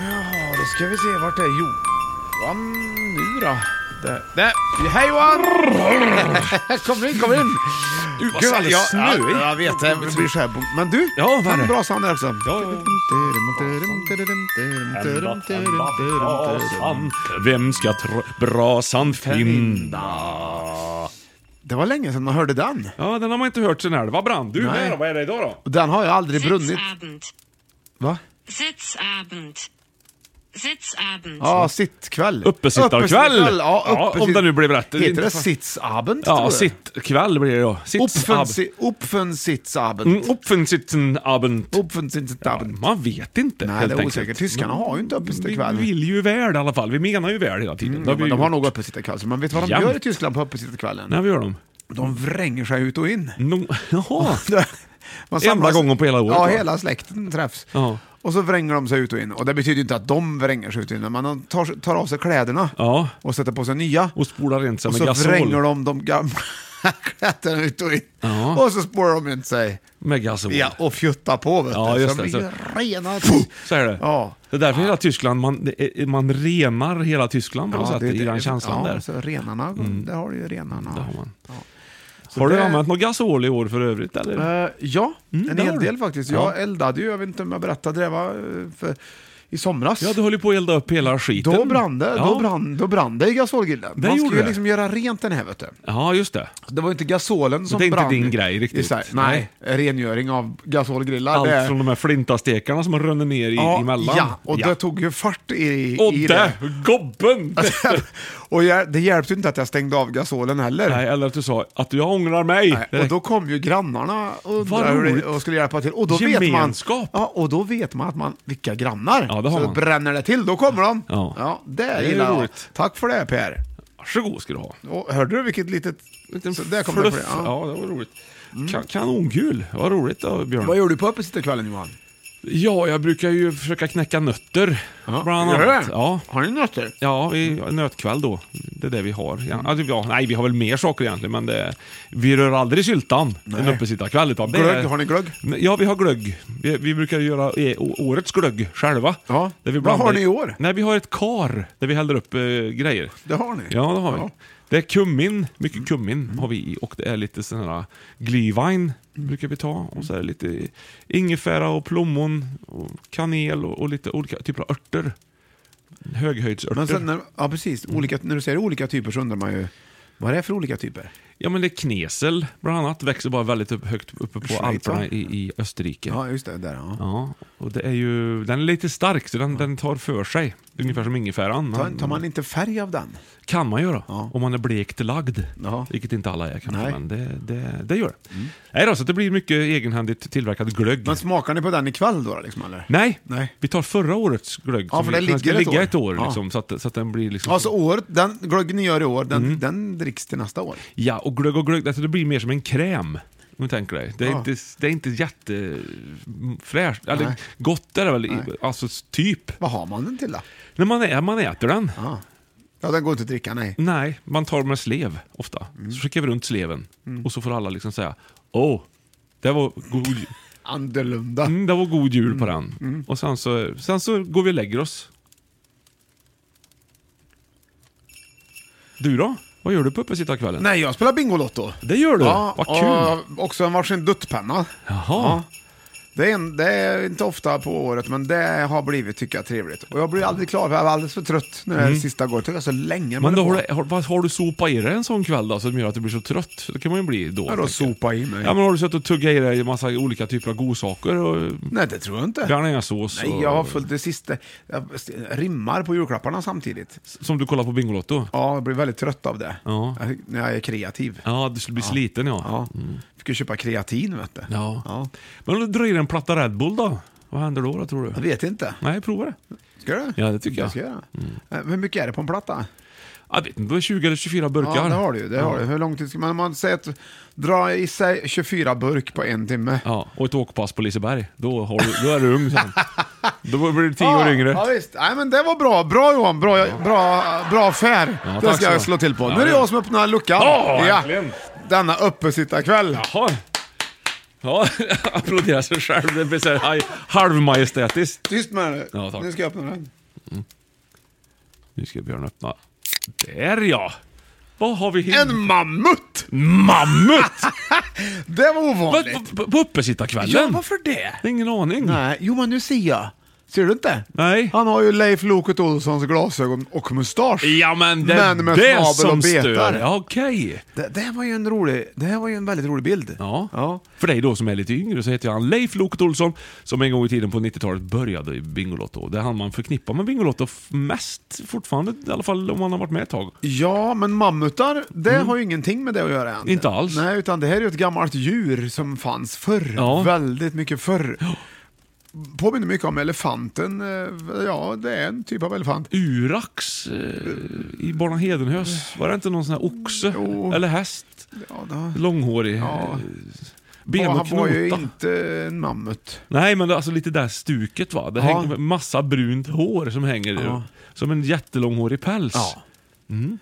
Ja, då ska vi se vart är Johan nu då? Där. Där. Hej Johan! kom in, kom in! Gud vad sand- ja, snö. Ja, jag vet. Det blir så här. Men du, Ja, vad är det? bra sound där också. Ja, ja, Vem ska tr- brasan finna? Det var länge sedan man hörde den. Ja, den har man inte hört sen här. Vad brann du Nej. med då? Vad är det idag då? Och Den har ju aldrig brunnit. Sitzabend. Va? Sitzabend. Sitzabend. Ja, sittkväll. Uppesittarkväll. Ja, Ja, uppesitt- om det nu blir rätt. Heter det sitsabend? tror Ja, jag? sittkväll blir det då. Uppfen- Sitsab. si- Uppfen sitsabend. Mm, Uppfensitzenabend. Uppfen sitsabend. Man vet inte Nej, helt det är enkelt. osäkert. Tyskarna har ju inte öppensittarkväll. Vi vill ju väl i alla fall. Vi menar ju väl hela tiden. Det har vi Mm, Men de gjort. har nog öppensittarkväll, så man vet vad de Jämt. gör i Tyskland på öppensittarkvällen. Nej, vi gör dem. De vränger sig ut och in. No, jaha. Man Enda gången på hela året, Ja, va? hela släkten träffs. Ja. Och så vränger de sig ut och in. Och det betyder ju inte att de vränger sig ut och in, men de tar, tar av sig kläderna Ja. och sätter på sig nya. Och spolar rent sig Och med så vränger gasol. de de gamla kläderna ut och in. Ja. Och så spårar de inte sig. Med gasol. Ja, och fjuttar på vet du. Ja, just så det, de blir ju rena... Så är det. Ja. Det är därför hela Tyskland, man, det är- man renar hela Tyskland på något sätt, i den känslan ja, där. Mm. Så renarna, där har du ju renarna. Det har man. Ja. Så Har du det- använt något gasol i år för övrigt eller? Eh, ja, Mm, en det har hel du. del faktiskt. Ja. Jag eldade ju, jag vet inte om jag berättade det, va? För, i somras. Ja, du höll ju på att elda upp hela skiten. då, brann det, ja. då, brann, då brann det i gasolgrillen. Det Man gjorde skulle ju det. liksom göra rent den här vet du. Ja, just det. Det var ju inte gasolen som det är inte brann. din grej riktigt. I Sverige. Nej, rengöring av gasolgrillar. Allt det är- från de här flintastekarna som har runnit ner i, ja, emellan. Ja, och det tog ju fart i, Och i där, gobben! och jag, det hjälpte ju inte att jag stängde av gasolen heller. Nej, eller att du sa att jag ångrar mig. Nej, och då kom ju grannarna och, Vad undrade hur det- roligt. och skulle hjälpa till. Och då Gemenskap. Vet man, ja, och då vet man att man, vilka grannar. Ja, det har så man. bränner det till, då kommer de. Ja. det, är gillar jag. roligt. Tack för det Per. Varsågod ska du ha. Och, hörde du vilket litet... Liten så där kom det fluff. på det. Ja. Mm. Ja. det var roligt. Ka- kanonkul. Vad roligt då, Björn. Vad gör du på öppensittarkvällen Johan? Ja, jag brukar ju försöka knäcka nötter. Bland Gör du annat. det? Ja. Har ni nötter? Ja, vi, Mm. nötkväll då. Det är det vi har. Ja, alltså, ja, nej, vi har väl mer saker egentligen, men det, vi rör aldrig syltan en uppesittarkväll. utan det är- Glögg, har ni glögg? Ja, vi har glögg. Vi, vi brukar göra eh, å- årets glögg själva. Ja. Där Vad blandar har ni i år? Nej, vi har ett kar där vi häller upp eh, grejer. Det har ni? Ja, det har vi. Ja. Mm. Det är kummin, mycket kummin har vi i och det är lite sån här äh, glühwein Mm. brukar vi ta och så är det lite ingefära och plommon och kanel och, och lite olika typer av örter. Höghöjdsörter. Mm. Men sen när, ja precis, olika, när du säger olika typer så undrar man ju, vad är det för olika typer? Ja, men det är knesel bland annat. Växer bara väldigt upp, högt uppe på Schweiz, va? Alperna i, i Österrike. Ja, just det. Där, ja. Ja, och det är ju, den är lite stark så den, den tar för sig. Ungefär som ingefäran. Tar, tar man inte färg av den? kan man göra, Ja. om man är blekt lagd. Ja. Vilket inte alla är kanske, Nej. Mm. men det, det, det gör det. Nej då, så det blir mycket egenhändigt tillverkad glögg. Men smakar ni på den ikväll då? Liksom, eller? Nej, Nej. vi tar förra årets glögg. Ja, som för vi- den den ska ligger ett ligga år. ett år. Ja. liksom, så, att, så att den blir liksom... Alltså året, den glöggen ni gör i år, den, den dricks till nästa år. Ja, och glögg och glögg, alltså det blir mer som en kräm. Om du tänker dig. Det är, Ja. inte, det är inte jättefräscht. Eller Nej. gott är det väl, i- Nej. alltså typ. Vad har man den till då? När man, är, man äter den. Ja, ja den går inte att dricka, nej. Nej, man tar med slev ofta. Mm. Så skickar vi runt sleven. Och så får alla liksom säga Åh, det var god, Annorlunda. mm, det var god jul på den. Och sen så, sen så går vi och lägger oss. Du då? Vad gör du på uppesittarkvällen? Nej, jag spelar Bingolotto. Det gör du? Ja, Vad kul! och också en varsin duttpenna. Jaha. Det är, en, det är inte ofta på året, men det har blivit, tycker jag, trevligt. Och jag blir aldrig klar, för jag var alldeles för trött när det sista går. Det tog så länge. Men då det har, var- du, har, vad har du sopat i dig en sån kväll då, som gör att du blir så trött? Det kan man ju bli Ja, då. då tänker jag. sopa i mig. Ja, men har du suttit och tuggat i dig en massa olika typer av godsaker? Och Nej, det tror jag inte. bearnaisesås? Nej, och- jag har följt det sista. Jag rimmar på julklapparna samtidigt. Som du kollar på Bingolotto? Ja, jag blir väldigt trött av det. Ja. Jag, när jag är kreativ. Ja, du skulle bli sliten ja. Ja. Fick ju köpa kreatin, vet du. Mm. Ja. ja. Men om du drar i dig en platta Red Bull då? Vad händer då, då tror du? Jag vet inte. Nej, prova det. Ska du? Ja, det tycker jag. Mm. Ska göra. Eh, Hur mycket är det på en platta? Jag vet inte, det är 20 eller 24 burkar. Ja, det har du ju. Det har ja. du. Hur lång tid ska man... Om man säger att dra i sig 24 burk på en timme. Ja, och ett åkpass på Liseberg. Då, har du, då är du ung sen. då blir du 10 år Ja, yngre. Ja, visst. Nej, men det var bra. Bra Johan, bra, bra, bra affär. Ja, det tack ska så. jag slå till på. Ja, nu är det det- jag som öppnar luckan. Ja, äntligen. Denna uppesittarkväll. Jaha. Ja, applådera sig själv. Det blir så här haj- halvmajestätiskt. Tyst med dig Ja, tack. Nu ska jag öppna den. Nu ska Björn öppna. Där ja! Vad har vi hit? En mammut! mammut! Det var Vad- ovanligt. på- på- På uppesittarkvällen? Ja, varför det? Ingen aning. Nej, jo men nu ser jag. Ser du inte? Nej. Han har ju Leif Loket Olssons glasögon och mustasch. Ja men det Män med är det snabel och som betar. stör. Ja, Okej. Det, det här var ju en rolig, det här var ju en väldigt rolig bild. Ja. ja. För dig då som är lite yngre så heter han Leif Loket Olsson som en gång i tiden på 90-talet började i Bingolotto. Det är han man förknippar med Bingolotto f- mest fortfarande, i alla fall om man har varit med ett tag. Ja, men mammutar, det har ju ingenting med det att göra egentligen. Mm. Inte alls. Nej, utan det här är ju ett gammalt djur som fanns förr. Ja. Väldigt mycket förr. Påminner mycket om elefanten. eh, Ja, det är en typ av elefant. Urax eh, i Barna Hedenhös, var det inte någon sån här oxe? Jo. Eller häst? Ja, då. Långhårig? Ja. Ja. Ben Ja, och han var ju knota. inte en mammut. Nej, men det- alltså lite där stuket va. Det Ja. hänger massa brunt hår som hänger Ja. som en jättelånghårig päls. Mm.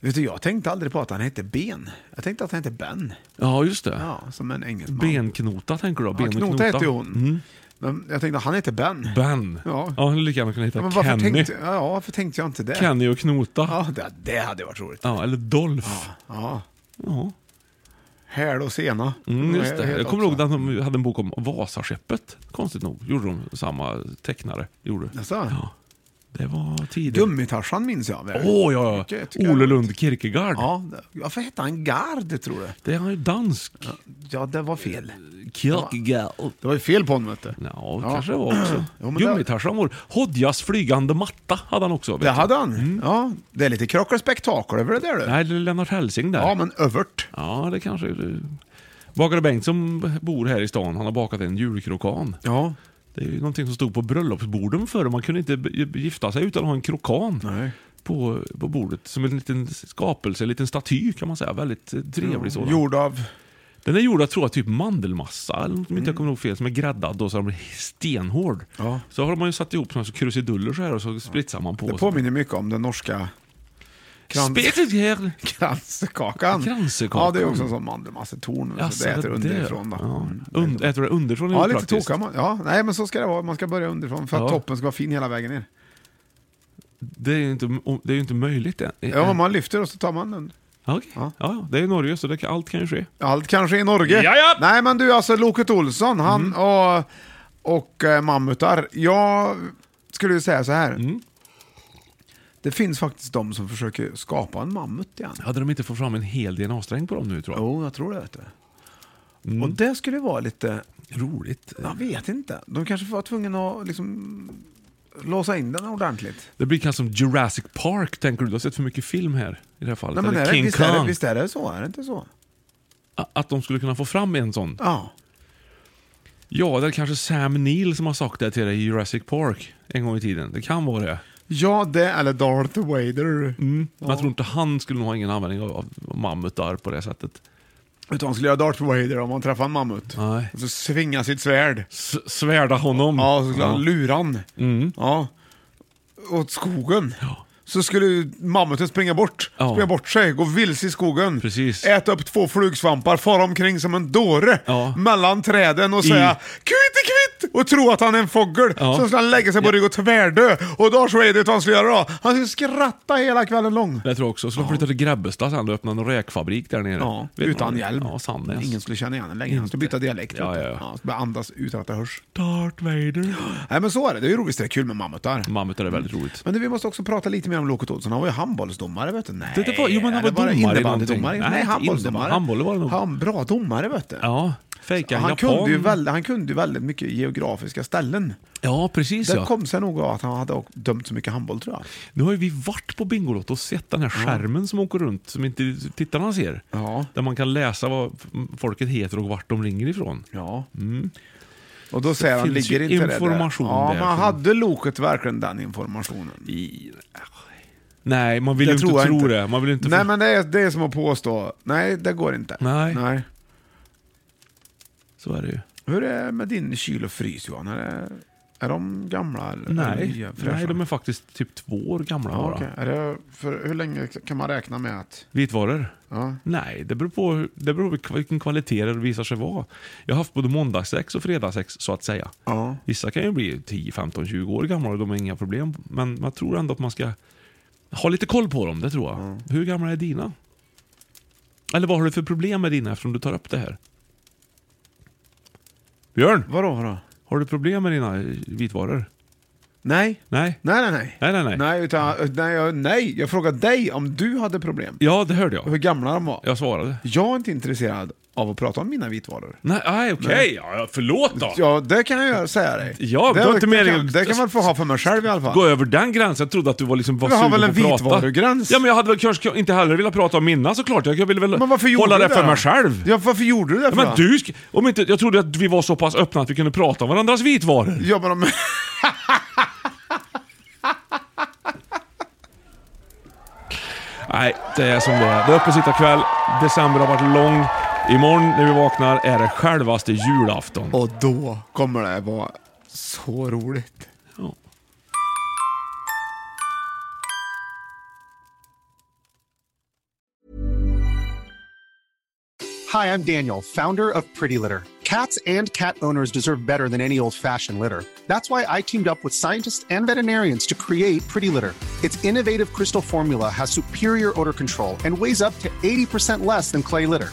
Vet du, jag tänkte aldrig på att han hette Ben. Jag tänkte att han hette Ben. Ja, just det. Ja, som en engelsman. Benknota tänker du då? Ja, Ben och Knota hette ju hon. Men jag tänkte, han heter Ben. Mm. Ben. Ja. han hade lika gärna kunnat heta Men varför Kenny. tänkte, ja, varför tänkte jag inte det? Kenny och Knota. Ja, Ja, det, det hade varit roligt. eller Dolph. Ja. Ja. Häl och sena. Mm, just Jag det. heter Jag kommer också. ihåg att de hade en bok om Vasaskeppet. Konstigt nog gjorde de samma tecknare. Gjorde. Jaså? Ja. Det var tidigt. Gummitarsan minns jag väl? Åh ja, Mycket, ja. jag tycker Ole jag- Lund Kierkegaard. Ja, det- varför hette han Gard, tror du? Det är han ju dansk. Ja, det var fel. Kierkegaard. Det var ju fel på honom, vet du. Ja, Ja. kanske det var också. Jo, men det- Gummitarsan var Hodjas flygande matta hade han också. vet Det du. hade han. Ja, det är lite krock och spektakel över det där du. Nej, det är Lennart Hälsing där. Ja, men övert. Ja, det kanske... det- Bagare Bengt som bor här i stan, han har bakat en julkrokan. Ja. Det är ju någonting som stod på bröllopsborden förr. Man kunde inte b- gifta sig utan att ha en krokan Nej. på, på bordet. Som en liten skapelse, en liten staty kan man säga. Väldigt eh, trevlig sådan. Gjord av... Den är gjord av, tror jag, typ mandelmassa, eller något, om inte jag kommer ihåg fel, som är gräddad och så den blir stenhård. Mm. Ja. Så har man ju satt ihop såna här krusiduller så här och så spritsar man på. Det påminner mycket om den norska krans- Spetselgärl! Alltså, kranskakan. Kransekakan. Ja, det är också en sån mandelmassetorn. Alltså, det äter underifrån. Då. Ja. Mm. Und, äter du underifrån är Ja, ju lite praktiskt. tokar man. Ja, nej, men så ska det vara. Man ska börja underifrån för att Ja. toppen ska vara fin hela vägen ner. Det är ju inte, det är ju inte möjligt än. Ja, men man lyfter och så tar man den. Ja, okej. Ja. ja. ja, det är Norge så det kan, allt kan ju ske. Allt kanske i Norge. Ja, Mm. ja. Nej, men du, alltså Loket Olsson, han och, Mm. och eh, mammutar. Jag skulle ju säga så här. Det finns faktiskt de som försöker skapa en mammut igen. Hade de inte fått fram en hel DNA-sträng på dem nu tror jag? Jo, jag tror det. Vet du. Mm. Och det skulle vara lite... Roligt. Jag vet inte. De kanske var tvungna att liksom låsa in den ordentligt. Det blir kanske som Jurassic Park, tänker du? Du har sett för mycket film här i det här fallet. Nej, men Eller är det, King visst, är det, Kong. visst är det så? Är det inte så? A- Att de skulle kunna få fram en sån. Ja. Ja, det är kanske Sam Neill som har sagt det till dig i Jurassic Park en gång i tiden. Det kan vara det. Ja, det eller Darth Vader. Men jag tror inte han skulle nog ha ingen användning av, av mammutar på det sättet. Utan han skulle göra Darth Vader om han träffade en mammut. Nej. Och så svinga sitt svärd. S- svärda honom. Ja, och så skulle han Ja. Mm. lura han. Ja. Åt skogen. Ja. Så skulle ju mammuten springa bort. Ja. Springa bort sig, gå vilse i skogen. Precis. Äta upp två flugsvampar, fara omkring som en dåre. Ja. Mellan träden och säga kvitt, kvitt! Och tro att han är en fågel. Ja. Sen skulle han lägga sig på rygg och tvärdö. Och Darth Vader, vet du vad han skulle göra då? Han skulle skratta hela kvällen lång. Det tror jag också. Så de flyttade till Grebbestad sen och öppnade en räkfabrik där nere. Ja, Vet utan man- hjälm. Ja, Sandnes. Ingen skulle känna igen den längre. Han skulle byta dialekt. Ja, vet du. ja, ja. så började andas utan att det hörs. Darth Vader. Nej men så är det, det är ju roligt. Det är kul med mammutar. Mammutar är väldigt roligt. Men du, vi måste också prata lite mer om Loket Olsson. Han var ju handbollsdomare vet du. Nej, Det- det var- jo, men han det var domare i innebandydomare. någonting. Nej, Nej, inte handbollsdomare. innebandy. Handboll var det nog. Han, bra domare vet du. Ja, fejka han, japan. kunde ju väldigt, han kunde ju väldigt mycket geografiska ställen. Ja, precis Det ja. kom sig nog av att han hade dömt så mycket handboll tror jag. Nu har ju vi varit på Bingolotto och sett den här skärmen som åker runt, som inte tittarna ser. Ja. Där man kan läsa vad folket heter och vart de ringer ifrån. Ja. Mm. Och då säger han, Mm. finns ligger ju inte det där? information Ja, där men som- hade Loket verkligen den informationen? I... Nej, man vill Det ju inte tror jag tro inte. det. Man vill inte Nej för- men det är, det är som att påstå, nej det går inte. Nej. Så är det ju. Hur är det med din kyl och frys Johan? Är, det, är de gamla eller är de Nej. nya? fräscha? Nej, de är faktiskt typ två år gamla ja, bara. okej. är det, för Hur länge kan man räkna med att... Vitvaror? Ja. Nej, det beror, på, hur- det beror på kva- vilken kvalitet det visar sig vara. Jag har haft både måndagsex och fredagsex, så att säga. Ja. Vissa kan ju bli 10, 15, 20 år gamla och de har inga problem. Men man tror ändå att man ska ha lite koll på dem, det tror jag. Mm. Hur gamla är dina? Eller vad har du för problem med dina eftersom du tar upp det här? Björn, Vadå, vadå? har du problem med dina eh, vitvaror? Nej. Nej? Nej, nej, nej. Nej, nej, nej. Nej, utan, nej, jag, nej, jag frågade dig om du hade problem. Ja, det hörde Hur jag. gamla de var. Jag svarade. Jag är inte intresserad av att prata om mina vitvaror. Nej, nej okej. Ja, ja, förlåt då. Ja, det kan jag göra- säga dig. Ja, det, det var inte det, meningen. kan, det kan man få ha för mig själv i alla fall. Gå över den gränsen. Jag trodde att du var liksom var Jag har sugen väl en på att prata. vitvarugräns. Ja, men jag hade väl kanske inte heller velat prata om mina såklart. Jag ville väl Men varför gjorde hålla du det det för då? mig själv. Ja, varför gjorde du det Ja, för men då? du, sk- om inte, jag trodde att vi var så pass öppna att vi kunde prata om varandras vitvaror. Ja, men om... Nej, det är som det är. Det är uppesittarkväll. December har varit lång. Imorgon när vi vaknar är det självaste julafton. Och då kommer det vara så roligt. Ja. Hi, I'm Daniel, founder of Pretty Litter. Cats and cat owners deserve better than any old fashioned litter. That's why I teamed up with scientists and veterinarians to create Pretty Litter. Its innovative crystal formula has superior odor control and weighs up to 80% less than clay litter.